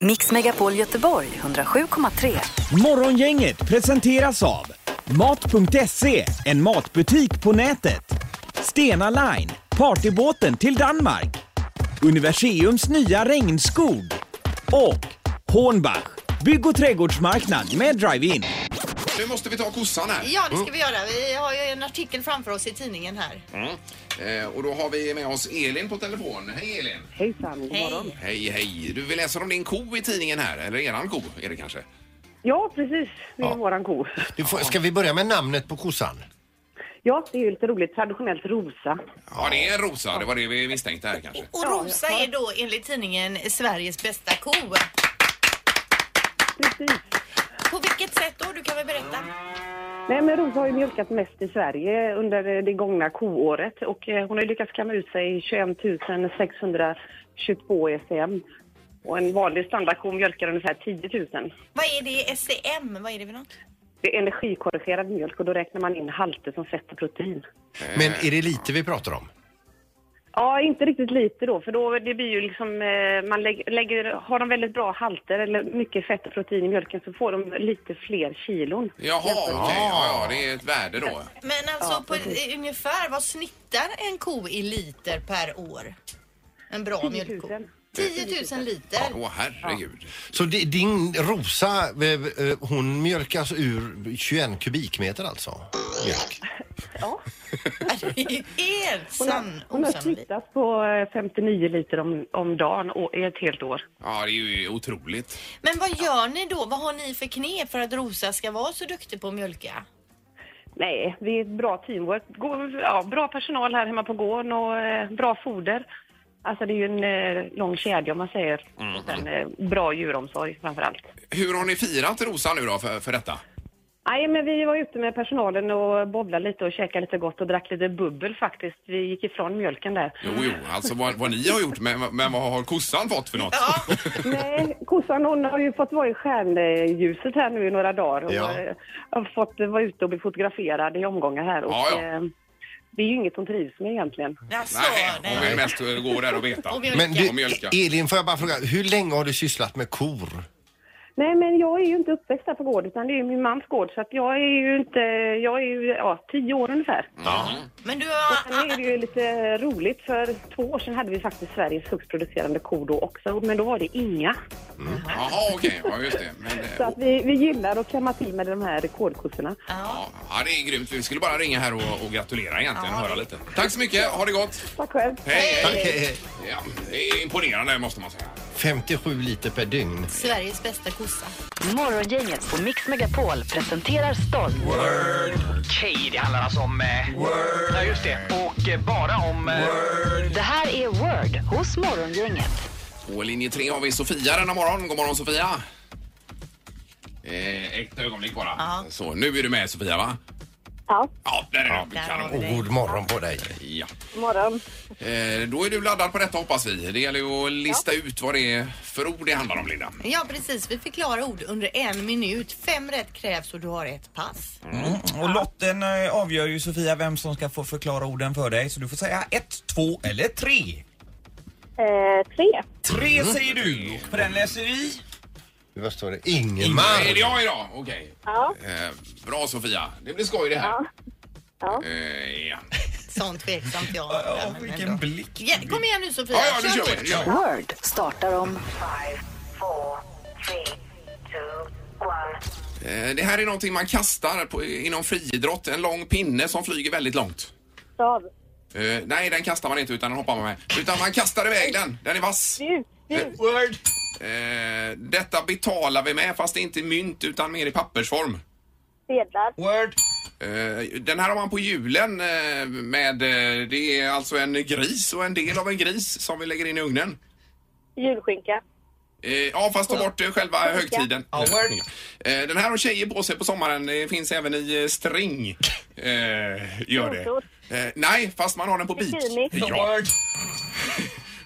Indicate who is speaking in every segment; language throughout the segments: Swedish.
Speaker 1: Mix Megapol Göteborg 107,3.
Speaker 2: Morgongänget presenteras av Mat.se, en matbutik på nätet. Stena Line, partybåten till Danmark. Universiums nya regnskog. Och Hornbach, bygg och trädgårdsmarknad med drive-in.
Speaker 3: Nu måste vi ta kossan här.
Speaker 4: Ja, det ska vi göra. Vi har ju en artikel framför oss i tidningen här.
Speaker 3: Eh, och då har vi med oss Elin på telefon. Hej Elin!
Speaker 5: Hejsan, god morgon.
Speaker 4: Hej.
Speaker 3: Hej, hej! Du, vi läser om din ko i tidningen här. Eller eran ko är det kanske.
Speaker 5: Ja, precis. Det är våran ko.
Speaker 6: Du får, ska vi börja med namnet på kossan?
Speaker 3: Eh.
Speaker 5: Ja, det är ju lite roligt. Traditionellt rosa.
Speaker 3: Ja, det är Rosa. Det var det vi misstänkte här kanske.
Speaker 4: Och Rosa är då enligt tidningen Sveriges bästa ko.
Speaker 5: Precis.
Speaker 4: På vilket sätt då? Du kan väl berätta?
Speaker 5: Nej, men Rosa har ju mjölkat mest i Sverige under eh, det gångna koåret och eh, hon har ju lyckats kamma ut sig 21 622 ECM. Och en vanlig standardko mjölkar ungefär 10 000.
Speaker 4: Vad är det SCM? Vad är det för något?
Speaker 5: Det är energikorrigerad mjölk och då räknar man in halter som fett och protein.
Speaker 6: Men är det lite vi pratar om?
Speaker 5: Ja, inte riktigt lite då, för då det blir ju liksom, eh, man lägger, lägger, har de väldigt bra halter eller mycket fett och protein i mjölken så får de lite fler kilon.
Speaker 3: Jaha, okej. Ja, ja, det är ett värde då.
Speaker 4: Men alltså på eh, ungefär, vad snittar en ko i liter per år? En bra
Speaker 5: 10 000.
Speaker 4: mjölkko. 10 000 liter.
Speaker 3: Åh, herregud.
Speaker 6: Så di- din Rosa, eh, eh, hon mjölkas ur 21 kubikmeter alltså? Mjölk.
Speaker 5: Ja,
Speaker 4: Det är ju helt
Speaker 5: hon har,
Speaker 4: sann
Speaker 5: hon har
Speaker 4: osannolikt.
Speaker 5: snittat på eh, 59 liter om, om dagen och, i ett helt år.
Speaker 3: Ja, det är ju otroligt.
Speaker 4: Men vad gör ni då? Vad har ni för knep för att Rosa ska vara så duktig på att mjölka?
Speaker 5: Nej, det är ett bra teamwork. Gå, ja, bra personal här hemma på gården och eh, bra foder. Alltså det är ju en eh, lång kedja om man säger. Och sen eh, bra djuromsorg framför allt.
Speaker 3: Hur har ni firat Rosa nu då för, för detta?
Speaker 5: Nej, men vi var ute med personalen och bobblade lite och käkade lite gott och drack lite bubbel faktiskt. Vi gick ifrån mjölken där.
Speaker 3: Jo, jo, alltså vad, vad ni har gjort, men, men vad har kossan fått för något?
Speaker 4: Ja,
Speaker 5: Nej, kossan hon har ju fått vara i stjärnljuset här nu i några dagar och
Speaker 6: Ja.
Speaker 5: eh, har fått vara ute och bli fotograferad i omgångar här. Och,
Speaker 3: Ja, ja.
Speaker 5: eh, Det är ju inget hon trivs med egentligen.
Speaker 4: alltså,
Speaker 3: Nej, hon vill
Speaker 4: nej.
Speaker 3: mest eh, gå där och beta.
Speaker 4: Och mjölka.
Speaker 6: Men
Speaker 3: Och
Speaker 6: du,
Speaker 3: mjölka.
Speaker 6: Elin, får jag bara fråga, hur länge har du sysslat med kor?
Speaker 5: Nej, men jag är ju inte uppväxt här på gården utan det är ju min mans gård så att jag är ju inte, jag är ju ja, tio år ungefär.
Speaker 4: Men du har...
Speaker 5: Sen är det ju lite roligt för två år sedan hade vi faktiskt Sveriges högst producerande ko då också men då var det inga.
Speaker 3: Jaha, okej. Ja, just det. Men, eh,
Speaker 5: Så att vi, vi gillar att klämma till med de här rekordkossorna.
Speaker 3: ja, ja, det är grymt. Vi skulle bara ringa här och, och gratulera egentligen och höra lite. Tack så mycket. Ha det gott.
Speaker 5: Tack själv.
Speaker 3: Hej,
Speaker 6: Tack,
Speaker 3: hej.
Speaker 6: hej, hej.
Speaker 3: Ja, det är imponerande måste man säga.
Speaker 6: 57 liter per dygn.
Speaker 4: Sveriges bästa kossa.
Speaker 1: Morgongänget på Mix Megapol presenterar stolt.
Speaker 7: Okej, det handlar alltså om... Eh, Word. Ja, just det. Och eh, bara om... Eh,
Speaker 1: Det här är Word hos Morgongänget.
Speaker 3: På linje 3 har vi Sofia denna morgon. God morgon Sofia! Eh, ett ögonblick bara.
Speaker 4: Ja.
Speaker 3: Så, nu är du med Sofia va?
Speaker 8: Ja,
Speaker 3: Ja, där är du.
Speaker 4: Där har
Speaker 3: Kanon.
Speaker 4: vi
Speaker 6: Och
Speaker 4: dig.
Speaker 6: god morgon på dig.
Speaker 3: Ja.
Speaker 8: god morgon.
Speaker 3: Eh, då är du laddad på detta hoppas vi. Det gäller ju att lista ut vad det är för ord det handlar om Linda.
Speaker 4: Ja, precis. Vi förklarar ord under en minut. Fem rätt krävs och du har ett pass.
Speaker 2: Och lotten eh, avgör ju Sofia vem som ska få förklara orden för dig så du får säga ett, två eller tre.
Speaker 8: Eh, tre.
Speaker 2: Tre säger du och på den läser vi.
Speaker 6: Vad står det?
Speaker 3: Är det
Speaker 6: Ingemar!
Speaker 3: jag idag? Okej.
Speaker 8: Ja,
Speaker 3: Eh, bra Sofia. Det blir skoj det här.
Speaker 8: Ja.
Speaker 3: Eh, ja.
Speaker 4: Sånt tveksamt jag.
Speaker 2: Ja,
Speaker 4: men
Speaker 2: vilken
Speaker 4: ändå.
Speaker 2: blick.
Speaker 4: Ja, kom igen nu Sofia.
Speaker 3: ja, ja, nu kör vi. Ja.
Speaker 1: Word startar om
Speaker 3: Eh, det här är någonting man kastar på, inom friidrott. En lång pinne som flyger väldigt långt.
Speaker 8: stav.
Speaker 3: Eh, nej, den kastar man inte utan den hoppar man med. Utan man kastar iväg den. Den är vass.
Speaker 8: Ljus.
Speaker 3: Word. Eh, detta betalar vi med fast det är inte mynt utan mer i pappersform.
Speaker 8: Sedlar.
Speaker 2: Word.
Speaker 3: Eh, den här har man på julen eh, med, eh, det är alltså en gris och en del av en gris som vi lägger in i ugnen.
Speaker 8: Julskinka.
Speaker 3: Eh, ja, fast ta bort eh, själva högtiden.
Speaker 2: Ja, word.
Speaker 3: Eh, den här har tjejer på sig på sommaren. Det finns även i eh, string. Eh, gör
Speaker 8: Rosor.
Speaker 3: det. Eh, nej, fast man har den på bit.
Speaker 8: Bikini.
Speaker 3: Ja.
Speaker 2: Word.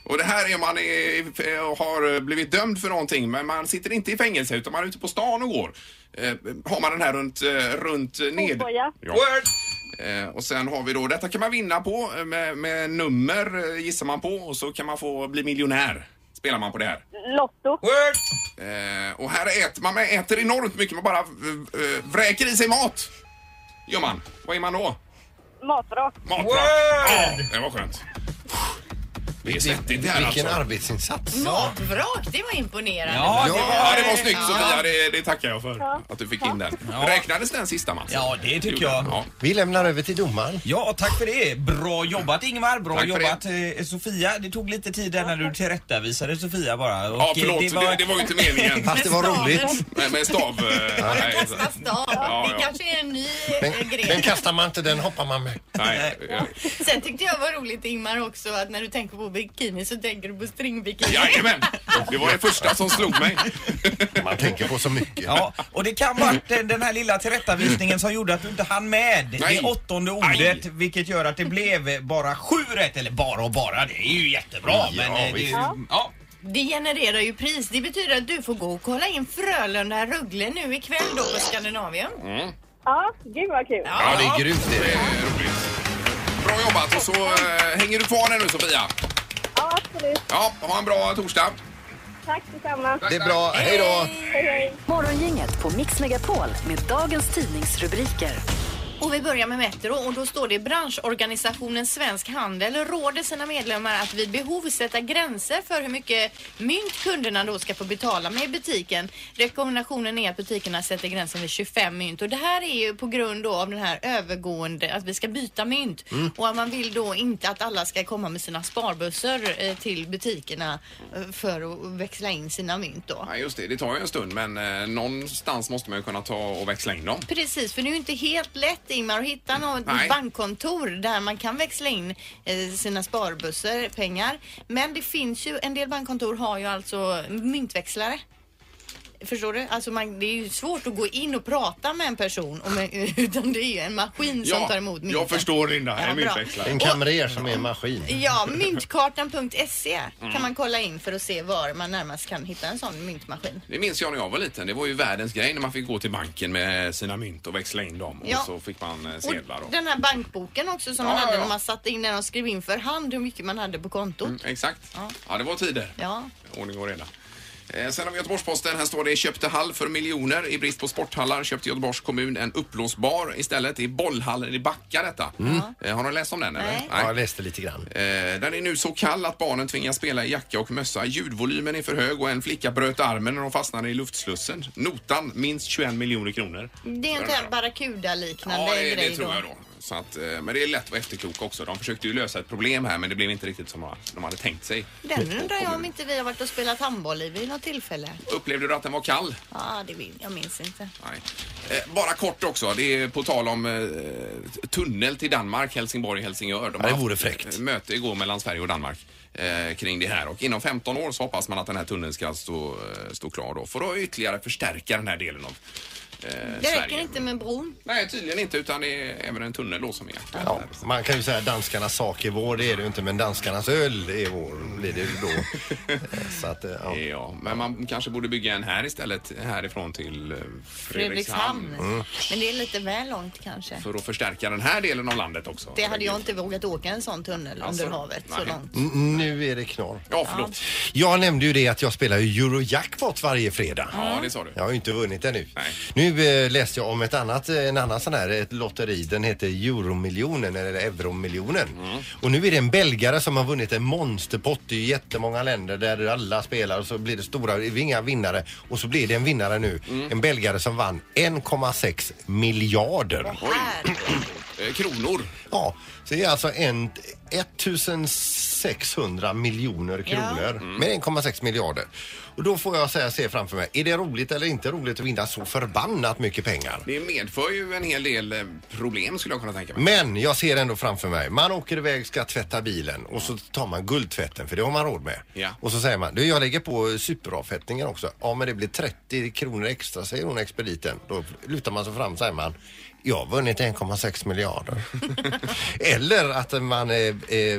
Speaker 3: Och det här är man är, eh, har blivit dömd för någonting men man sitter inte i fängelse utan man är ute på stan och går. Eh, har man den här runt, eh, runt eh, ned...
Speaker 8: Fotboja.
Speaker 3: Ja. Eh, och sen har vi då, detta kan man vinna på eh, med, med nummer eh, gissar man på och så kan man få bli miljonär. spelar man på det här.
Speaker 8: Lotto.
Speaker 2: Word!
Speaker 3: Eh, och här äter man, man äter enormt mycket, man bara eh, vräker i sig mat. Gör man. Vad är man då?
Speaker 8: Matrak.
Speaker 3: Matrak.
Speaker 2: Word!
Speaker 3: Ja, det var skönt. Det är svettigt det här
Speaker 6: Vilken
Speaker 3: alltså.
Speaker 6: arbetsinsats.
Speaker 4: Matvrak, det var imponerande.
Speaker 2: Ja, det
Speaker 3: Ja,
Speaker 2: var...
Speaker 3: det var snyggt Sofia, det, det tackar jag för. Att du fick in den. Räknades den sista Mats?
Speaker 2: Ja, det tycker
Speaker 3: Ja.
Speaker 2: jag.
Speaker 6: Vi lämnar över till domaren.
Speaker 2: Ja, tack för det. Bra jobbat Ingmar, bra
Speaker 3: Tack för
Speaker 2: jobbat eh, Sofia. Det tog lite tid där när du tillrättavisade Sofia bara. Och,
Speaker 3: Ja,
Speaker 2: eh,
Speaker 3: förlåt. Det var, det, var ju inte meningen.
Speaker 6: Fast det var roligt.
Speaker 3: Nej, men stav... eh, Nej,
Speaker 4: Kasta stav.
Speaker 3: Ja,
Speaker 4: Det
Speaker 3: ja.
Speaker 4: kanske är en ny
Speaker 6: Den,
Speaker 4: eh,
Speaker 6: den
Speaker 4: grej.
Speaker 6: kastar man inte, den hoppar man med.
Speaker 3: nej. eh,
Speaker 4: Sen tyckte jag var roligt Ingmar också att när du tänker på bikini så tänker du på stringbikini.
Speaker 3: Jajamän! Det var det första som slog mig.
Speaker 6: Man tänker på så mycket.
Speaker 2: Ja, och det kan vara den, den här lilla tillrättavisningen som gjorde att du inte hann med
Speaker 3: Nej.
Speaker 2: det åttonde
Speaker 3: Aj.
Speaker 2: ordet vilket gör att det blev bara sju rätt. Eller bara och bara, det är ju jättebra.
Speaker 3: Ja,
Speaker 2: men eh, det,
Speaker 3: visst.
Speaker 2: ja.
Speaker 4: Det genererar ju pris. Det betyder att du får gå och kolla in Frölunda-Rögle nu ikväll då på Skandinavien.
Speaker 8: Ja, gud vad kul.
Speaker 6: Ja, det är grymt
Speaker 3: Det
Speaker 6: det.
Speaker 3: är roligt. Bra jobbat och så eh, hänger du kvar här nu Sofia.
Speaker 8: Ja, absolut.
Speaker 3: Ja, ha en bra torsdag.
Speaker 8: Tack detsamma.
Speaker 6: Det är bra. Hej då!
Speaker 8: Hej, hej.
Speaker 1: Morgongänget på Mix Megapol med dagens tidningsrubriker.
Speaker 4: Och vi börjar med Metro och då står det branschorganisationen Svensk Handel råder sina medlemmar att vid behov sätta gränser för hur mycket mynt kunderna då ska få betala med i butiken. Rekommendationen är att butikerna sätter gränsen vid 25 mynt och det här är ju på grund då av den här övergående att vi ska byta mynt och att man vill då inte att alla ska komma med sina sparbössor eh, till butikerna eh, för att växla in sina mynt då.
Speaker 3: Ja, just det, det tar ju en stund men eh, någonstans måste man ju kunna ta och växla in dem.
Speaker 4: Precis, för det är ju inte helt lätt Ingmar att hitta något
Speaker 3: Nej.
Speaker 4: bankkontor där man kan växla in eh, sina sparbussar, pengar. Men det finns ju, en del bankkontor har ju alltså myntväxlare. Förstår du? Alltså man, det är ju svårt att gå in och prata med en person om, utan det är ju en maskin som tar emot mynten.
Speaker 3: jag förstår Linda.
Speaker 4: Ja,
Speaker 3: Ja,
Speaker 4: bra.
Speaker 6: En kamrer som är en maskin.
Speaker 4: Ja, myntkartan.se
Speaker 3: Mm.
Speaker 4: kan man kolla in för att se var man närmast kan hitta en sån myntmaskin.
Speaker 3: Det minns jag när jag var liten. Det var ju världens grej när man fick gå till banken med sina mynt och växla in dem.
Speaker 4: Ja.
Speaker 3: Och så fick man eh,
Speaker 4: Och
Speaker 3: sedlar. Och...
Speaker 4: den här bankboken också som
Speaker 3: Ja,
Speaker 4: man
Speaker 3: ja,
Speaker 4: hade
Speaker 3: ja.
Speaker 4: när man satte in den och skrev in för hand hur mycket man hade på kontot.
Speaker 3: Exakt. Ja. det var tider.
Speaker 4: Ja.
Speaker 3: Ordning och reda. Eh, Sen har vi Göteborgs-Posten. Här står det köpte hall för miljoner. I blist på sporthallar köpte Göteborgs kommun en uppblåsbar istället. I bollhallen i Backa detta. Eh, Har du läst om den eller?
Speaker 4: Mm. Nej.
Speaker 6: Ja, jag läste lite grann.
Speaker 3: Eh, Den är nu så kall att barnen tvingas spela i jacka och mössa. Ljudvolymen är för hög och en flicka bröt armen när hon fastnade i luftslussen. Notan minst 21 miljoner kronor.
Speaker 4: Det är inte en barracuda-liknande
Speaker 3: Ja, det,
Speaker 4: grej
Speaker 3: det tror
Speaker 4: då.
Speaker 3: jag då. Så att, eh, men det är lätt att vara efterklok också. De försökte ju lösa ett problem här men det blev inte riktigt som de hade tänkt sig.
Speaker 4: Den undrar jag om inte vi har varit och spelat handboll i vid något tillfälle.
Speaker 3: Upplevde du att den var kall?
Speaker 4: Ja, det vill jag. minns inte.
Speaker 3: Nej. Eh, bara kort också, det är på tal om eh, tunnel till Danmark, Helsingborg, Helsingör. De
Speaker 6: Ja, det
Speaker 3: har
Speaker 6: vore
Speaker 3: haft,
Speaker 6: fräckt.
Speaker 3: eh, möte igår mellan Sverige och Danmark eh, kring det här och inom 15 år så hoppas man att den här tunneln ska stå, eh, stå klar då för att ytterligare förstärka den här delen av eh,
Speaker 4: Det
Speaker 3: Sverige.
Speaker 4: räcker inte med bron.
Speaker 3: Nej, tydligen inte utan det är även en tunnel då som är aktuell.
Speaker 6: Ja, man kan ju säga danskarnas sak är vår, det är det ju inte, men danskarnas öl är vår, blir det ju då. Så att, eh, ja.
Speaker 3: Ja, men man kanske borde bygga en här istället, härifrån till eh, Fredrikshamn.
Speaker 4: Fredrikshamn. Men det är lite väl långt kanske.
Speaker 3: För att förstärka den här delen av landet också.
Speaker 4: Det hade jag inte vågat åka en sån tunnel
Speaker 3: Alltså,
Speaker 4: under havet så
Speaker 3: nej.
Speaker 4: långt.
Speaker 6: Nu är det knorr.
Speaker 3: Ja, förlåt.
Speaker 6: Jag nämnde ju det att jag spelar ju Eurojackpot varje fredag.
Speaker 3: Ja, det sa du.
Speaker 6: Jag har ju inte vunnit ännu.
Speaker 3: Nej.
Speaker 6: Nu eh, läste jag om ett annat, eh, en annan sån här ett lotteri. Den heter Euromiljonen eller Euromiljonen.
Speaker 3: Mm.
Speaker 6: Och nu är det en belgare som har vunnit en monsterpott. Det är ju jättemånga länder där alla spelar och så blir det stora, det är inga vinnare. Och så blir det en vinnare nu.
Speaker 3: Mm.
Speaker 6: En belgare som vann 1,6 miljarder.
Speaker 4: Här.
Speaker 3: Eh, Kronor.
Speaker 6: Ja, så det är alltså en, 1600 miljoner kronor med 1,6 miljarder. Och då får jag säga, se framför mig, är det roligt eller inte roligt att vinna så förbannat mycket pengar?
Speaker 3: Det medför ju en hel del eh, problem skulle jag kunna tänka mig.
Speaker 6: Men jag ser ändå framför mig, man åker iväg, ska tvätta bilen och så tar man guldtvätten för det har man råd med.
Speaker 3: Ja.
Speaker 6: Och så säger man, du jag lägger på superavfettningen också. Ja men det blir 30 kronor extra säger hon expediten. Då lutar man sig fram säger man, jag har vunnit 1,6 miljarder. Eller att man eh, eh,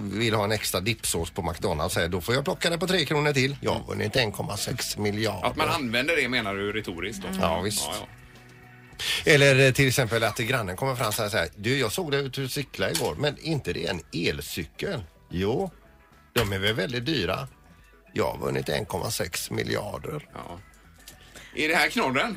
Speaker 6: vill ha en extra dippsås på McDonalds och säger, då får jag plocka det på 3 kronor till. Jag har vunnit 1,6 miljarder.
Speaker 3: Att man använder det menar du retoriskt då?
Speaker 6: Mm. Ja, visst. Eller eh, till exempel att grannen kommer fram och säger Du, jag såg dig ute och cykla igår, men inte det är en elcykel? Jo, de är väl väldigt dyra. Jag har vunnit 1,6 miljarder.
Speaker 3: Ja. Är det här knorren?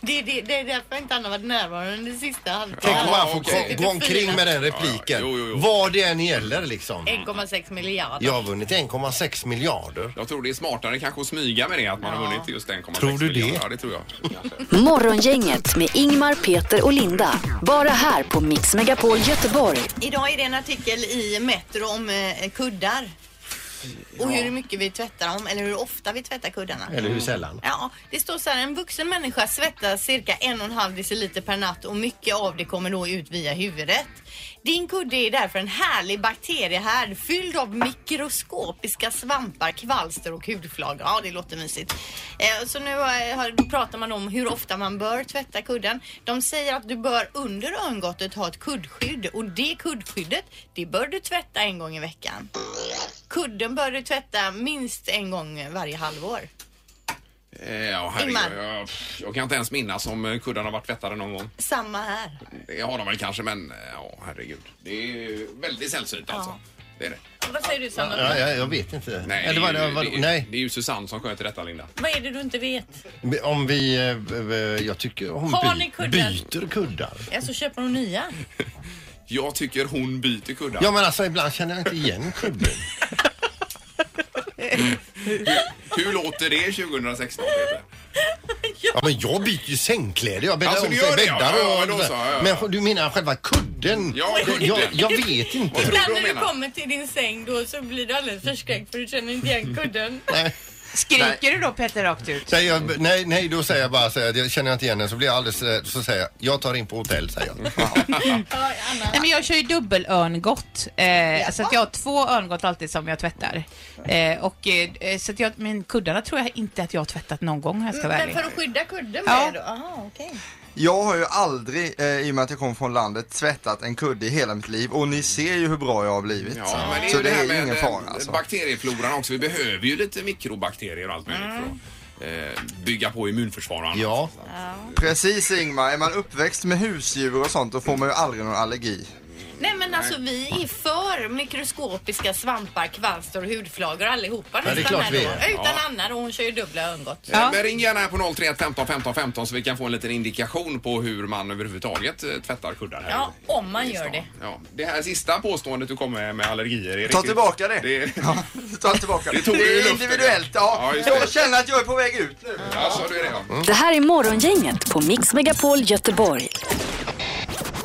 Speaker 4: Det, det, det är därför inte han har varit närvarande det sista halvtimmen.
Speaker 6: Tänk om
Speaker 3: Ja,
Speaker 6: man får
Speaker 3: okej.
Speaker 6: gå omkring med den repliken.
Speaker 3: Ja, ja. Jo, jo, jo.
Speaker 6: Vad det än gäller liksom.
Speaker 4: 1,6 miljarder.
Speaker 6: Jag har vunnit 1,6 miljarder.
Speaker 3: Jag tror det är smartare kanske att smyga med det att man har vunnit just 1,6
Speaker 6: Tror du det?
Speaker 3: miljarder. Ja, det tror jag. Kanske.
Speaker 1: Morgongänget med Ingmar, Peter och Linda. Bara här på Mix Megapol Göteborg.
Speaker 4: Idag är det en artikel i Metro om eh, kuddar. Och hur mycket vi tvättar dem, eller hur ofta vi tvättar kuddarna.
Speaker 6: Eller hur sällan?
Speaker 4: Ja, det står så här, en vuxen människa svettas cirka en och en halv deciliter per natt och mycket av det kommer då ut via huvudet. Din kudde är därför en härlig bakteriehärd fylld av mikroskopiska svampar, kvalster och hudflagor. Ja, det låter mysigt. Eh, så nu eh, har- då pratar man om hur ofta man bör tvätta kudden. De säger att du bör under örngottet ha ett kuddskydd och det kuddskyddet, det bör du tvätta en gång i veckan. Kudden bör du tvätta minst en gång varje halvår.
Speaker 3: Eh, Ja, herregud.
Speaker 4: Ingmar.
Speaker 3: Jag, pff, jag kan inte ens minnas om eh, kuddarna har varit tvättade någon gång.
Speaker 4: Samma här.
Speaker 3: Det har de väl kanske, men eh, ja, herregud. Det är ju väldigt sällsynt alltså. Det är det.
Speaker 9: Vad säger du Sandra?
Speaker 6: Ja, ja, jag vet inte.
Speaker 3: Nej,
Speaker 6: Eller vad,
Speaker 3: det, är ju-
Speaker 6: vad,
Speaker 3: det, är ju-
Speaker 6: nej,
Speaker 3: det är ju Susanne som sköter detta, Linda.
Speaker 9: Vad är det du inte vet?
Speaker 6: om vi... eh, eh, Jag tycker hon
Speaker 9: Har ni
Speaker 6: by,
Speaker 9: kuddar?
Speaker 6: byter kuddar.
Speaker 9: Ja, så köper hon nya.
Speaker 3: Jag tycker hon byter kuddar.
Speaker 6: Ja, men alltså ibland känner jag inte igen kudden.
Speaker 3: Hur låter det 2016, Peter?
Speaker 6: Ja, men jag byter ju sängkläder. Jag bäddar
Speaker 3: Alltså,
Speaker 6: om
Speaker 3: du
Speaker 6: sig
Speaker 3: gör det, ja.
Speaker 6: bäddar
Speaker 3: Ja,
Speaker 6: och...
Speaker 3: då så, ja, ja.
Speaker 6: Men du menar själva kudden?
Speaker 3: Ja,
Speaker 6: Det-
Speaker 3: kudden.
Speaker 6: jag, jag vet
Speaker 3: Vad
Speaker 6: inte.
Speaker 3: tror
Speaker 9: Ibland
Speaker 3: du de
Speaker 9: när du
Speaker 3: menar?
Speaker 9: kommer till din säng då så blir du alldeles förskräckt för du känner inte igen kudden.
Speaker 6: Nej.
Speaker 10: Skriker du då Peter rakt ut?
Speaker 6: Säger jag, nej, nej, då säger jag bara så här, jag känner jag inte igen den så blir jag alldeles eh, så säger jag, jag tar in på hotell säger
Speaker 3: Mm.
Speaker 6: jag.
Speaker 9: Ja, Anna.
Speaker 10: Nej men jag kör ju dubbelörngott. Eh, så att jag har två örngott alltid som jag tvättar. Eh, och, eh, så att jag, men kuddarna tror jag inte att jag har tvättat någon gång om jag ska vara
Speaker 4: Men
Speaker 10: ärlig.
Speaker 4: för att skydda kudden
Speaker 10: Ja.
Speaker 4: med då? Aha, okej.
Speaker 11: Jag har ju aldrig, eh, i och med att jag kom från landet, tvättat en kudde i hela mitt liv och ni ser ju hur bra jag har blivit.
Speaker 3: Ja, men det är
Speaker 11: så
Speaker 3: ju
Speaker 11: det
Speaker 3: här
Speaker 11: är ju
Speaker 3: med
Speaker 11: ingen
Speaker 3: eh,
Speaker 11: fara alltså.
Speaker 3: Bakteriefloran också. Vi behöver ju lite mikrobakterier och allt
Speaker 4: Mm.
Speaker 3: möjligt för att eh, bygga på immunförsvaret. och annat.
Speaker 6: Ja,
Speaker 11: Precis Ingmar, är man uppväxt med husdjur och sånt då får man ju aldrig någon allergi.
Speaker 4: Nej men alltså vi är för mikroskopiska svampar, kvalster och hudflagor allihopa
Speaker 6: det är klart
Speaker 4: här
Speaker 6: vi
Speaker 4: då.
Speaker 6: är.
Speaker 4: Utan Anna då, hon kör ju dubbla örngott.
Speaker 3: Eh, Men ring gärna här på 031 15 15 15 så vi kan få en liten indikation på hur man överhuvudtaget eh, tvättar kuddar här.
Speaker 4: Ja,
Speaker 3: i-
Speaker 4: om man
Speaker 3: i
Speaker 4: gör
Speaker 3: stan.
Speaker 4: det.
Speaker 3: Ja, det här sista påståendet du kom med, med allergier. Är
Speaker 11: Ta
Speaker 3: riktigt-
Speaker 11: tillbaka det.
Speaker 3: det
Speaker 11: Ja, ta tillbaka
Speaker 3: Det tog du i
Speaker 11: är
Speaker 3: luften.
Speaker 11: individuellt. Ja.
Speaker 3: Ja, just det.
Speaker 11: jag känner att jag är på väg ut nu.
Speaker 3: ja, så det är det. ja.
Speaker 11: Mm.
Speaker 1: Det här är Morgongänget på Mix Megapol Göteborg.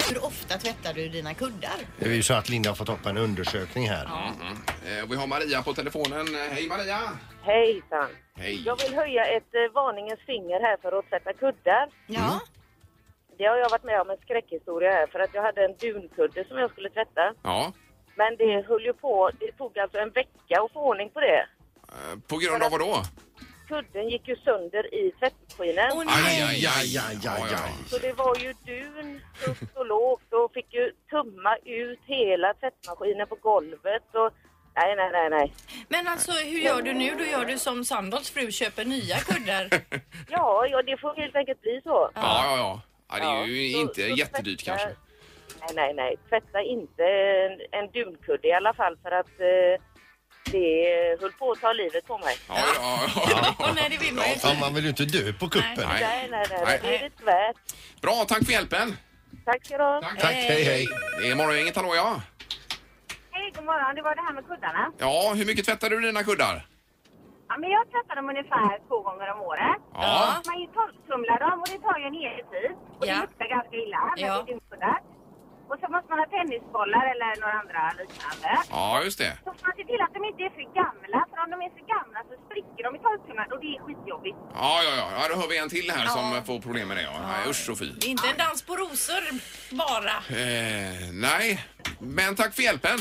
Speaker 4: Hur ofta tvättar du dina kuddar?
Speaker 6: det är ju så att Linda har fått upp en undersökning här.
Speaker 3: Eh, Vi har Maria på telefonen. Eh, Hej Maria!
Speaker 8: Hejsan.
Speaker 3: Hej!
Speaker 8: Jag vill höja ett eh, varningens finger här för att tvätta kuddar.
Speaker 4: Ja.
Speaker 8: Det har jag varit med om en skräckhistoria här för att jag hade en dunkudde som jag skulle tvätta.
Speaker 3: Ja,
Speaker 8: Men det höll ju på, det tog alltså en vecka att få ordning på det.
Speaker 3: eh, på grund av vad då?
Speaker 8: Kudden gick ju sönder i tvättmaskinen.
Speaker 4: Och
Speaker 3: Aj,
Speaker 4: nej.
Speaker 3: aj, aj,
Speaker 6: aj, aj,
Speaker 3: Ja, ja, ja.
Speaker 6: aj.
Speaker 8: Så det var ju dun, högt och lågt och fick ju tumma ut hela tvättmaskinen på golvet. Och... Nej, nej, nej, nej.
Speaker 4: Men alltså hur gör du nu? Då gör du som Sandals fru, köper nya kuddar.
Speaker 8: Ja, ja, det får helt enkelt bli så.
Speaker 3: Ja, ja, ja. ja det är ju
Speaker 8: Ja, så-
Speaker 3: inte
Speaker 8: så
Speaker 3: jättedyrt
Speaker 8: tvätta-
Speaker 3: kanske.
Speaker 8: Nej, nej, nej. Tvätta inte en, en dunkudde i alla fall för att eh, det höll på att ta livet på mig.
Speaker 3: Ja, ja, ja,
Speaker 4: Åh
Speaker 3: ja.
Speaker 4: nej, det vill man ju inte.
Speaker 6: Ja, man vill ju inte dö på kuppen.
Speaker 3: Nej.
Speaker 8: Nej, nej, nej.
Speaker 3: Nej.
Speaker 8: Det är det värt.
Speaker 3: Bra, tack för hjälpen!
Speaker 8: Tack ska du ha.
Speaker 6: Tack, hej hej.
Speaker 3: Det är morgongänget, hallå ja.
Speaker 8: Hej, god morgon. Det var det här med kuddarna.
Speaker 3: Ja, hur mycket tvättar du dina kuddar?
Speaker 8: Ja, men jag tvättar dem ungefär två gånger om året.
Speaker 3: Ja.
Speaker 8: Man ju torktumlar dem och det tar ju en evig tid. Och
Speaker 4: Ja.
Speaker 8: det luktar ganska illa när
Speaker 4: Ja.
Speaker 8: det är dyngkuddar. Och så måste man ha tennisbollar eller några andra liknande.
Speaker 3: Ja, just det.
Speaker 8: Så får man se till att de inte är för gamla, för om de är för gamla så spricker de i torktumlaren och det är skitjobbigt.
Speaker 3: Ja, ja, ja. ja då hör vi en till här som får problem med det. Ja. Nej, usch och fy.
Speaker 4: Det är inte en dans på rosor bara.
Speaker 3: Eh, nej, men tack för hjälpen.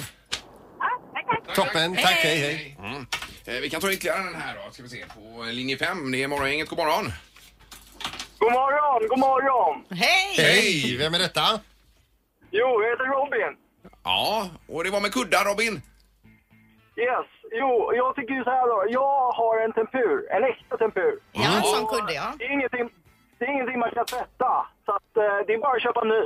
Speaker 8: Ja, tack, tack.
Speaker 6: Toppen, tack, hej hej.
Speaker 3: Mm. Eh, vi kan ta ytterligare den här då, ska vi se, på linje 5. Det är morgongänget, god morgon.
Speaker 11: God morgon, god morgon.
Speaker 4: Hej!
Speaker 6: Hej, vem är detta?
Speaker 11: Jo, jag heter Robin.
Speaker 3: Ja, och det var med kuddar Robin.
Speaker 11: Yes, jo, jag tycker ju så här då. Jag har en tempur, en extra tempur.
Speaker 4: Ja, en sån
Speaker 11: Och
Speaker 4: kudde ja.
Speaker 11: Det är ingenting, det är ingenting man kan tvätta. Så att, eh, det är bara att köpa ny.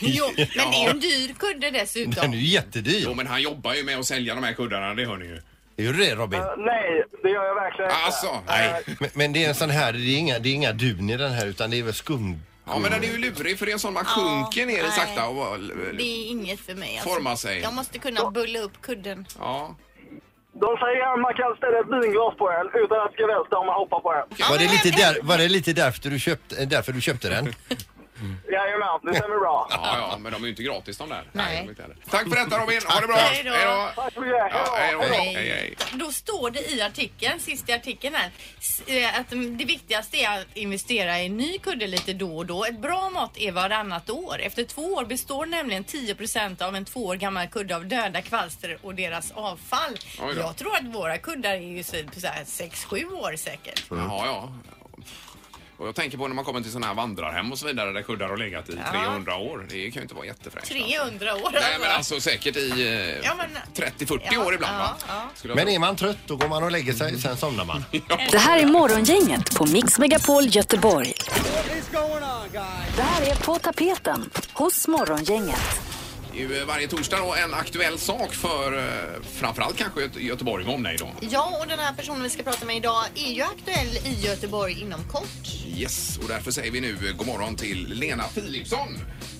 Speaker 4: Jo, men det är ju en dyr kudde dessutom.
Speaker 6: Den är ju jättedyr.
Speaker 3: Jo, men han jobbar ju med att sälja de här kuddarna, det hör ni ju.
Speaker 6: Gör du det Robin?
Speaker 12: Eh, nej, det gör jag verkligen inte.
Speaker 11: Eh,
Speaker 3: Alltså,
Speaker 6: Nej. Men, men det är en sån här, det är inga, det är inga dun i den här utan det är väl skum...
Speaker 3: Ja, men den är ju lurig för det är en sån man sjunker ner i
Speaker 4: nej.
Speaker 3: sakta och...
Speaker 4: Det är inget för mig. Alltså.
Speaker 3: Forma sig.
Speaker 4: Jag måste kunna bulla upp kudden.
Speaker 3: Ja.
Speaker 12: De säger att man kan ställa ett vinglas på en utan att det ska välta om man hoppar på en.
Speaker 6: Var det lite, där, var det lite därför, du köpte, därför du köpte den?
Speaker 12: Jajamän, det stämmer bra.
Speaker 3: Ja, ja, men de är ju inte gratis de där.
Speaker 12: Nej.
Speaker 3: de är inte heller. Tack för detta Robin, ha det bra!
Speaker 4: Hej då.
Speaker 12: Tack så mycket!
Speaker 3: Ja, hej då.
Speaker 4: Hej.
Speaker 3: Hej, hej.
Speaker 4: Då står det i artikeln, sista artikeln här, s- eh, att mm, det viktigaste är att investera i en ny kudde lite då och då. Ett bra mått är varannat år. Efter två år består nämligen 10 av en två år gammal kudde av döda kvalster och deras avfall.
Speaker 3: Oj då.
Speaker 4: Jag tror att våra kuddar är ju så 6-7 år säkert.
Speaker 3: Jaha, ja. Och jag tänker på när man kommer till sådana här vandrarhem och så vidare där kuddar har legat i
Speaker 4: Ja.
Speaker 3: 300 år. Det kan ju inte vara jättefräscht.
Speaker 4: 300 år
Speaker 3: Alltså. Nej, men alltså säkert i eh,
Speaker 4: Ja, men-
Speaker 3: 30-40
Speaker 4: Ja,
Speaker 3: år ibland va? Skulle jag
Speaker 6: Men
Speaker 3: tro.
Speaker 6: är man trött då går man och lägger sig, sen somnar man.
Speaker 1: Det här är Morgongänget på Mix Megapol Göteborg. Det här är På tapeten hos Morgongänget.
Speaker 3: Det är ju eh, varje torsdag då en aktuell sak för eh, framförallt kanske Göte- Göteborg med omnejd då.
Speaker 4: Ja, och den här personen vi ska prata med idag är ju aktuell i Göteborg inom kort.
Speaker 3: Yes, och därför säger vi nu eh, god morgon till Lena Philipsson.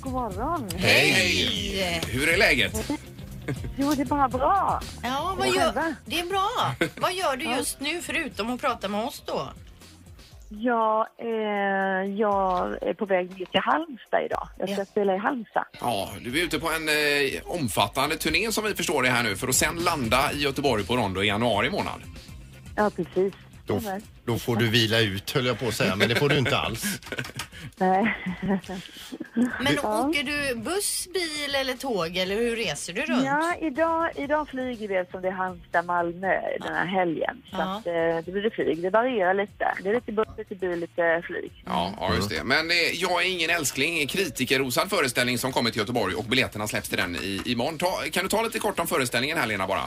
Speaker 8: God morgon.
Speaker 3: Hej! Hur är läget?
Speaker 8: Jo, det är bara bra.
Speaker 4: Ja, vad
Speaker 8: Och
Speaker 4: gör...
Speaker 8: själva?
Speaker 4: Det är bra. Vad gör du just nu förutom att prata med oss då?
Speaker 8: Jag, eh, jag är på väg ner till Halmstad idag. Jag ska spela i Halmstad.
Speaker 3: Ja, du är ute på en eh, omfattande turné som vi förstår det här nu för att sen landa i Göteborg på Rondo i januari månad.
Speaker 8: Ja, precis.
Speaker 6: Då,
Speaker 8: Stämmer.
Speaker 6: då får du vila ut höll jag på att säga, men det får du inte alls.
Speaker 8: Nej.
Speaker 4: Men
Speaker 8: Ja.
Speaker 4: åker du buss, bil eller tåg eller hur reser du runt?
Speaker 8: Ja, idag, idag flyger vi eftersom det är Halmstad-Malmö den här helgen. Så
Speaker 4: Ja.
Speaker 8: att, eh, det blir det flyg. Det varierar lite. Det är lite buss, lite bil, lite flyg.
Speaker 3: Ja, ja just det. Men eh, Jag är ingen älskling, kritikerrosad föreställning som kommer till Göteborg och biljetterna släpps till den i, imorgon. Ta, kan du ta lite kort om föreställningen här Lena bara?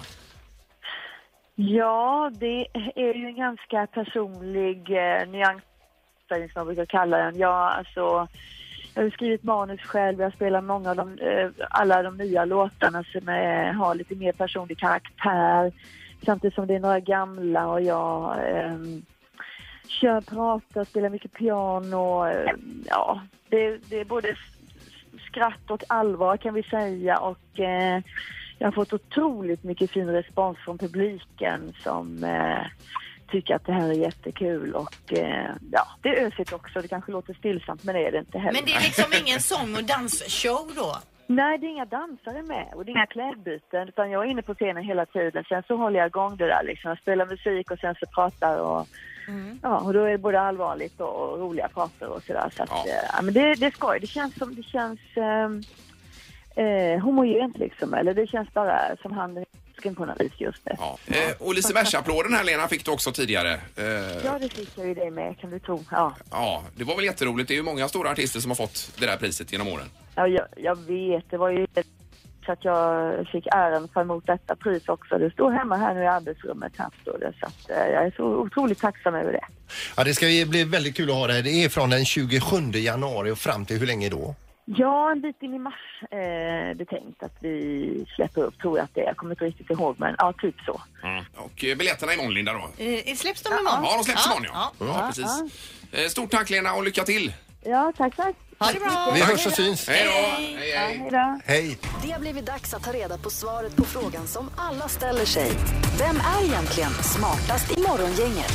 Speaker 8: Ja, det är ju en ganska personlig eh, nyansföring som man brukar kalla den. Jag, alltså, jag har ju skrivit manus själv, jag spelar många av de, eh, alla de nya låtarna som eh, har lite mer personlig karaktär. Samtidigt som det är några gamla och jag eh, kör, pratar, spelar mycket piano. Eh, ja, det, det är både skratt och allvar kan vi säga och eh, jag har fått otroligt mycket fin respons från publiken som eh, tycker att det här är jättekul och eh, ja, det är ösigt också. Det kanske låter stillsamt men det är det inte heller.
Speaker 4: Men det är liksom ingen sång och dansshow då?
Speaker 8: Nej, det är inga dansare med och det är inga klädbyten utan jag är inne på scenen hela tiden. Sen så håller jag igång det där liksom. Jag spelar musik och sen så pratar och
Speaker 10: Mm.
Speaker 8: ja, och då är det både allvarligt och, och roliga prater och sådär. Så att, ja. ja, men det, det är skoj. Det känns som, det känns ehm, eh, homogent liksom. Eller det känns bara som handen i fisken på något vis just nu.
Speaker 3: Ja. Eh, och Lisebergsapplåden här Lena fick du också tidigare. Eh,
Speaker 8: Ja, det fick jag ju dig med kan du tro. Ja.
Speaker 3: ja, det var väl jätteroligt. Det är ju många stora artister som har fått det där priset genom åren.
Speaker 8: Ja, jag, jag vet, det var ju så att jag fick äran att ta emot detta pris också. Det står hemma här nu i arbetsrummet. Här står det, så att, eh, jag är så otroligt tacksam över det.
Speaker 6: Ja, det ska ju bli väldigt kul att ha det här. Det är från den 27 januari och fram till hur länge då?
Speaker 8: Ja, en bit in i mars eh, det är tänkt att vi släpper upp, tror jag att det är. Jag kommer inte riktigt ihåg, men ja, typ så.
Speaker 3: Och eh, biljetterna imorgon Linda då?
Speaker 4: Eh, släpps de imorgon?
Speaker 3: Ja, de släpps imorgon ja.
Speaker 4: ja.
Speaker 3: Ja, precis. Eh, Stort tack Lena och lycka till!
Speaker 8: Ja, tack, tack.
Speaker 4: Ha det bra!
Speaker 6: Vi hörs och syns.
Speaker 3: Hej då!
Speaker 1: Hej,
Speaker 8: hej då!
Speaker 6: Hej!
Speaker 1: Det har blivit dags att ta reda på svaret på frågan som alla ställer sig. Vem är egentligen smartast i Morgongänget?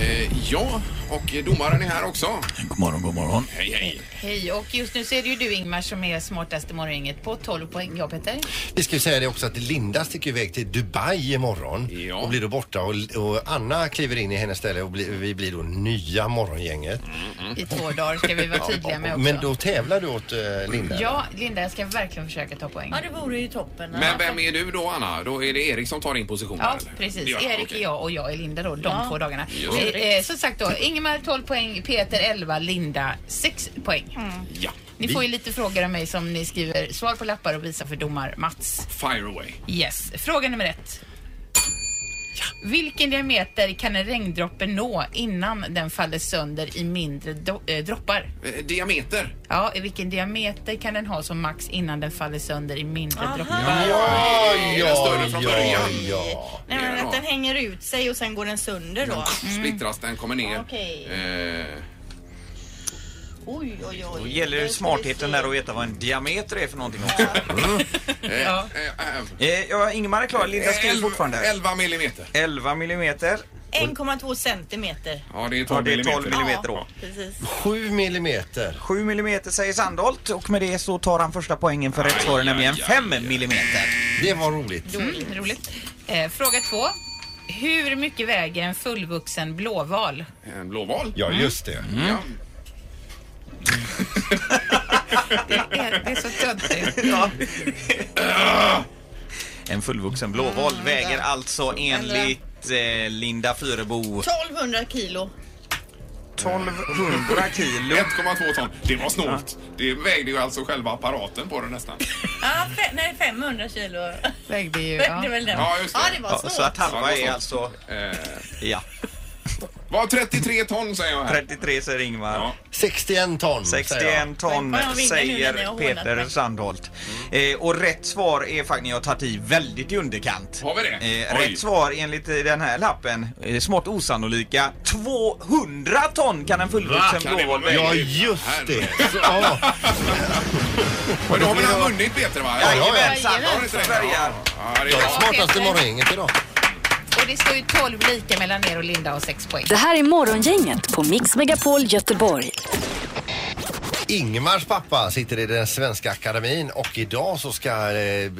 Speaker 3: Eh, ja, och domaren är här också.
Speaker 13: God morgon, god morgon.
Speaker 3: Hej, hej.
Speaker 10: Hej, och just nu så är det ju du Ingmar som är smartast i morgongänget på 12 poäng. Jag Peter?
Speaker 6: Vi ska ju säga det också att Linda sticker iväg till Dubai imorgon och blir då borta och, och Anna kliver in i hennes ställe och bli, vi blir då nya morgongänget.
Speaker 3: Mm.
Speaker 10: I två dagar ska vi vara tydliga med också.
Speaker 6: Men då tävlar du åt eh, Linda?
Speaker 10: Ja, Linda, jag ska verkligen försöka ta poäng. Ja,
Speaker 4: det vore ju toppen.
Speaker 3: Men vem är du då Anna? Då är det Erik som tar din position
Speaker 10: Ja,
Speaker 3: här, eller?
Speaker 10: precis.
Speaker 3: Ja,
Speaker 10: Erik
Speaker 3: okej.
Speaker 10: är jag och jag är Linda då, de
Speaker 3: Ja.
Speaker 10: två dagarna.
Speaker 3: Just
Speaker 10: Eh,
Speaker 3: det.
Speaker 10: eh, som sagt då, Ingemar 12 poäng, Peter 11, Linda 6 poäng.
Speaker 3: Ja.
Speaker 10: Ni får ju lite frågor av mig som ni skriver svar på lappar och visar för domar Mats.
Speaker 3: Fire away.
Speaker 10: Yes. Fråga nummer ett. Vilken diameter kan en regndroppe nå innan den faller sönder i mindre do- eh, droppar?
Speaker 3: Eh, diameter.
Speaker 10: Ja, i vilken diameter kan den ha som max innan den faller sönder i mindre droppar?
Speaker 3: Den större från början.
Speaker 4: Nej, men att den hänger ut sig och sen går den sönder då.
Speaker 3: Splittras den, kommer ner.
Speaker 4: Okej.
Speaker 3: Eh,
Speaker 4: Oj, oj, oj.
Speaker 2: Då gäller ju smartheten där att veta vad en diameter är för någonting också.
Speaker 3: Ja.
Speaker 2: Eh, ja, Ingemar är klar. Linda skriver
Speaker 3: Elva-
Speaker 2: fortfarande.
Speaker 3: 11 millimeter.
Speaker 2: 11 millimeter.
Speaker 4: 1,2 centimeter.
Speaker 3: Ja, det är
Speaker 2: 12
Speaker 3: millimeter.
Speaker 2: millimeter då.
Speaker 4: Precis.
Speaker 2: 7 millimeter. 7 millimeter säger Sandholt och med det så tar han första poängen för rätt svar, nämligen 5 millimeter.
Speaker 6: Det var roligt.
Speaker 10: Då är det inte Mm, roligt. Eh, fråga två. Hur mycket väger en fullvuxen blåval?
Speaker 3: En blåval?
Speaker 6: Ja, just det.
Speaker 3: Ja.
Speaker 10: Det är, det är så töntigt.
Speaker 2: En fullvuxen blåval väger alltså enligt eh, Linda Fyrebo
Speaker 4: 1200 kilo.
Speaker 2: 1200 kilo.
Speaker 3: 1,2 ton. Det var snålt. Det vägde ju alltså själva apparaten på den nästan.
Speaker 4: Ja, fe- nej, 500 kilo.
Speaker 10: Vägde ju...
Speaker 4: Vägde väl den.
Speaker 3: Ja, just det.
Speaker 4: Ja, det var
Speaker 2: så att
Speaker 4: snålt.
Speaker 3: Ja, det var
Speaker 2: halva är
Speaker 3: snålt.
Speaker 2: alltså... Ja.
Speaker 3: Eh, Var 33 ton säger jag här.
Speaker 2: 33 säger Ingmar.
Speaker 6: 61 ton. säger jag.
Speaker 2: 61 ton
Speaker 6: Vad jag vinner nu när jag
Speaker 2: säger
Speaker 6: har
Speaker 2: Peter
Speaker 6: hånat mig.
Speaker 2: Sandholt. Eh, och rätt svar är faktiskt, ni har tagit i väldigt i underkant.
Speaker 3: Har vi det?
Speaker 2: Eh,
Speaker 3: Oj.
Speaker 2: rätt svar enligt eh, den här lappen, eh, smått osannolika, 200 ton kan en fullvuxen
Speaker 3: Kan det vara
Speaker 2: blåval
Speaker 3: möjligt?
Speaker 2: väga.
Speaker 3: Ja. Men då har väl han vunnit Peter va?
Speaker 2: Jajamän,
Speaker 3: Har du
Speaker 2: Sandholt
Speaker 3: inte det?
Speaker 2: börjar.
Speaker 3: Ja, det
Speaker 6: Jag
Speaker 3: är
Speaker 6: är
Speaker 3: bra.
Speaker 6: smartaste morgongänget idag.
Speaker 10: Och det står ju 12 lika mellan er och Linda och 6 poäng.
Speaker 1: Det här är Morgongänget på Mix Megapol Göteborg.
Speaker 6: Ingmars pappa sitter i den svenska akademin och idag så ska eh,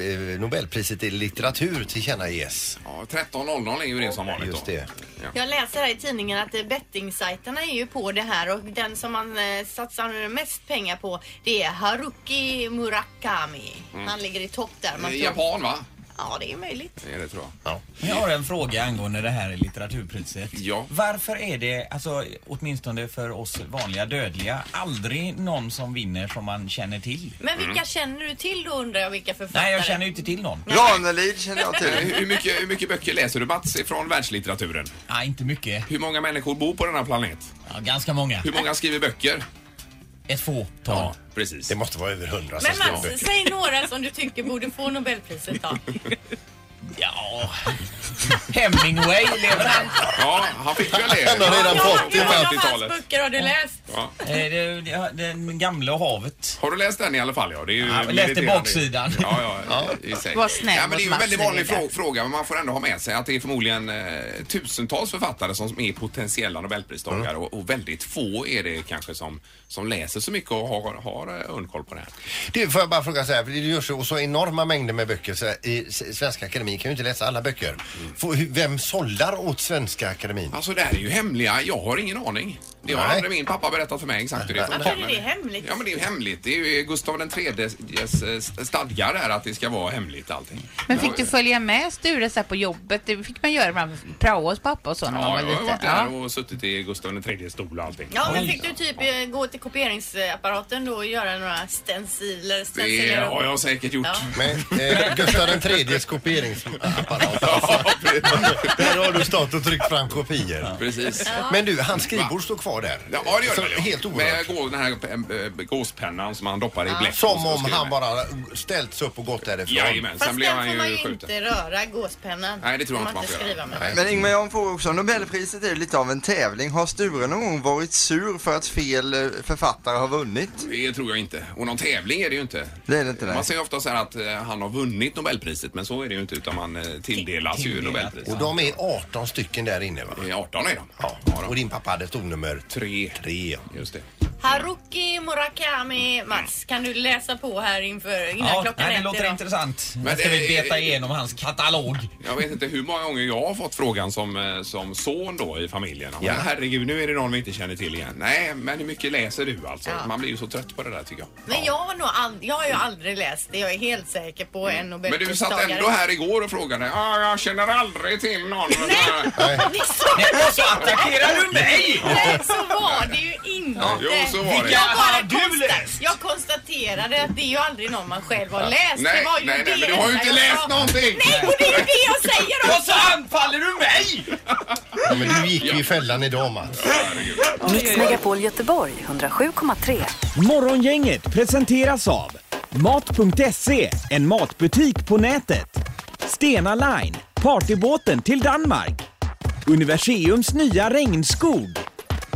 Speaker 6: Nobelpriset i litteratur tillkännages.
Speaker 3: Ja, 13.00 är ju det som vanligt
Speaker 6: Just det.
Speaker 4: Jag läser här i tidningen att eh, bettingsajterna är ju på det här och den som man eh, satsar mest pengar på det är Haruki Murakami.
Speaker 2: Mm.
Speaker 4: Han ligger i topp där.
Speaker 2: Eh, japan, va?
Speaker 4: Ja, det är möjligt.
Speaker 3: Det är det tror jag.
Speaker 2: Jag har en fråga angående det här litteraturpriset.
Speaker 3: Ja.
Speaker 2: Varför är det, alltså, åtminstone för oss vanliga dödliga, aldrig någon som vinner som man känner till?
Speaker 4: Men
Speaker 3: Mm.
Speaker 4: vilka känner du till då undrar jag vilka författare?
Speaker 2: Nej, jag känner ju inte till någon.
Speaker 3: Ranelid känner jag till. Eh, Hur mycket, hur mycket böcker läser du Mats ifrån världslitteraturen?
Speaker 2: Nej, inte mycket.
Speaker 3: Hur många människor bor på denna planet?
Speaker 2: Ja, ganska många.
Speaker 3: Hur många skriver böcker?
Speaker 2: Ett fåtal.
Speaker 3: Ja, precis. Det
Speaker 6: måste vara över hundra
Speaker 4: Men Mats, säg några som du tycker borde få Nobelpriset då.
Speaker 2: Ja. Hemingway lever han.
Speaker 3: Ja, han fick väl det.
Speaker 6: Han har redan
Speaker 4: Ja,
Speaker 6: fått det.
Speaker 4: hur många av hans
Speaker 3: 50-talet.
Speaker 4: böcker har du läst?
Speaker 3: Ja.
Speaker 2: Eh, Den gamla och havet.
Speaker 3: Har du läst den i alla fall? Ja, det är ju
Speaker 2: Ja, jag läste
Speaker 3: meriterande.
Speaker 2: baksidan.
Speaker 3: Ja, ja, ja. i sig.
Speaker 2: Var snäll
Speaker 3: ja, men Det är ju en
Speaker 2: mot
Speaker 3: väldigt
Speaker 2: Mats
Speaker 3: vanlig
Speaker 2: Lindberg.
Speaker 3: frå- fråga, men man får ändå ha med sig att det är förmodligen eh, tusentals författare som är potentiella nobelpristagare och, och väldigt få är det kanske som, som läser så mycket och har, har eh, underkoll på det här.
Speaker 6: Du, får jag bara fråga så här, för det görs ju så enorma mängder med böcker så här, i S- Svenska Akademin kan ju inte läsa alla böcker. Får- hur- Vem sållar åt Svenska Akademin?
Speaker 3: Alltså det här är ju hemliga, jag har ingen aning. Det har
Speaker 6: Nej.
Speaker 3: aldrig min pappa berättat för mig exakt hur det
Speaker 4: Varför är Alltså, det hemligt?
Speaker 3: Ja men det är ju hemligt. Det är ju Gustav IIIs stadgar där att det ska vara hemligt allting.
Speaker 10: Men fick du följa med Sture så här på jobbet? Det fick man göra ibland. Prao hos pappa och så när man
Speaker 3: Ja,
Speaker 10: var
Speaker 3: jag har
Speaker 10: liten.
Speaker 3: varit
Speaker 10: Ja.
Speaker 3: där och suttit i Gustav IIIs stol och allting.
Speaker 4: Ja, men fick du typ eh, gå till kopieringsapparaten då och göra några stenciler?
Speaker 3: Det
Speaker 4: stenciler och-
Speaker 3: har jag säkert gjort.
Speaker 4: Ja.
Speaker 6: Men eh, Gustav den tredjes kopieringsapparat alltså. Där har du stått och tryckt fram kopior.
Speaker 3: Precis.
Speaker 6: Men du, hans skrivbord står kvar där.
Speaker 3: Ja, ja, det gör
Speaker 6: Så-
Speaker 3: det väl, ja.
Speaker 6: Helt
Speaker 3: Med
Speaker 6: oerhört.
Speaker 3: gå- den här eh, gåspennan som han doppar i bläck. och
Speaker 6: Som
Speaker 3: så
Speaker 6: om
Speaker 3: skriver
Speaker 6: han
Speaker 3: med.
Speaker 6: bara ställts upp och gått därifrån.
Speaker 3: Jajamän, sen
Speaker 4: Fast
Speaker 3: blev
Speaker 4: den
Speaker 3: han
Speaker 4: får man
Speaker 3: ju
Speaker 4: ju
Speaker 3: skjuten.
Speaker 4: inte röra, gåspennan.
Speaker 3: Nej, det tror jag inte man får göra.
Speaker 4: skriva med.
Speaker 11: Men Ingmar, jag har en fråga också. Nobelpriset är ju lite av en tävling. Har Sture någon gång varit sur för att fel eh, författare har vunnit?
Speaker 3: Det tror jag inte. Och någon tävling är det ju inte.
Speaker 11: Det är det inte, nej.
Speaker 3: Man säger ofta så här att eh, han har vunnit Nobelpriset, men så är det ju inte utan man eh, tilldelas ju Nobelpriset.
Speaker 6: Och de är 18 stycken där inne va?
Speaker 3: 18 är de.
Speaker 6: Ja. Och din pappa hade ett nummer?
Speaker 3: Tre.
Speaker 6: Tre.
Speaker 3: Just det.
Speaker 4: Haruki Murakami.
Speaker 3: Mm.
Speaker 4: Mats, kan du läsa på här inför innan
Speaker 2: Ja,
Speaker 4: klockan
Speaker 2: nej,
Speaker 4: ett
Speaker 2: det låter
Speaker 4: idag?
Speaker 2: intressant.
Speaker 3: Men
Speaker 2: Nu ska
Speaker 3: det-
Speaker 2: vi beta igenom hans katalog.
Speaker 3: Jag vet inte hur många gånger jag har fått frågan som, eh, som son då i familjen. Ja.
Speaker 2: Ja.
Speaker 3: Men herregud, nu är det någon vi inte känner till igen. Nej, men hur mycket läser du alltså?
Speaker 4: Ja.
Speaker 3: Man blir ju så trött på det där tycker jag.
Speaker 4: Men jag har, nog ald- jag har ju aldrig läst det. Jag är helt säker på en
Speaker 3: Mm. Men du
Speaker 4: Nobelpristagare.
Speaker 3: satt ändå här igår och frågade. Ja, jag känner aldrig till någon.
Speaker 4: Nej,
Speaker 3: Nej.
Speaker 4: det sa
Speaker 3: Nej, och så attackerar du mig!
Speaker 4: Nej, så var det ju inte.
Speaker 14: inte.
Speaker 3: Jo, så var det.
Speaker 14: Jag,
Speaker 3: Vilka
Speaker 14: bara
Speaker 3: har du
Speaker 14: konsta-
Speaker 3: läst?
Speaker 14: jag konstaterade att det är ju aldrig någon man själv har
Speaker 3: Ja.
Speaker 14: läst.
Speaker 3: Nej,
Speaker 14: det var ju
Speaker 3: nej,
Speaker 14: det
Speaker 3: nej, men du har ju inte
Speaker 14: jag
Speaker 3: läst
Speaker 14: sa.
Speaker 3: någonting.
Speaker 14: Nej, och det är ju det jag säger också.
Speaker 3: Och så anfaller du mig!
Speaker 6: Ja, men du gick ju i fällan idag Mats.
Speaker 1: Mix Megapol Göteborg 107,3.
Speaker 2: Morgongänget presenteras av Mat.se, en matbutik på nätet. Stena Line, partybåten till Danmark. Universiums nya regnskog.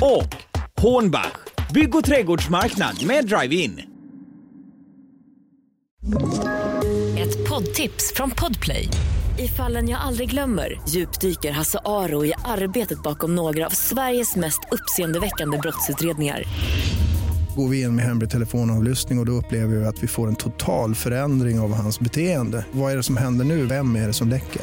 Speaker 2: Och Hornbach, bygg och trädgårdsmarknad med drive-in.
Speaker 15: Ett poddtips från Podplay. I fallen jag aldrig glömmer djupdyker Hasse Aro i arbetet bakom några av Sveriges mest uppseendeväckande brottsutredningar.
Speaker 16: Går vi in med hemlig telefonavlyssning och, och då upplever vi att vi får en total förändring av hans beteende. Vad är det som händer nu? Vem är det som läcker?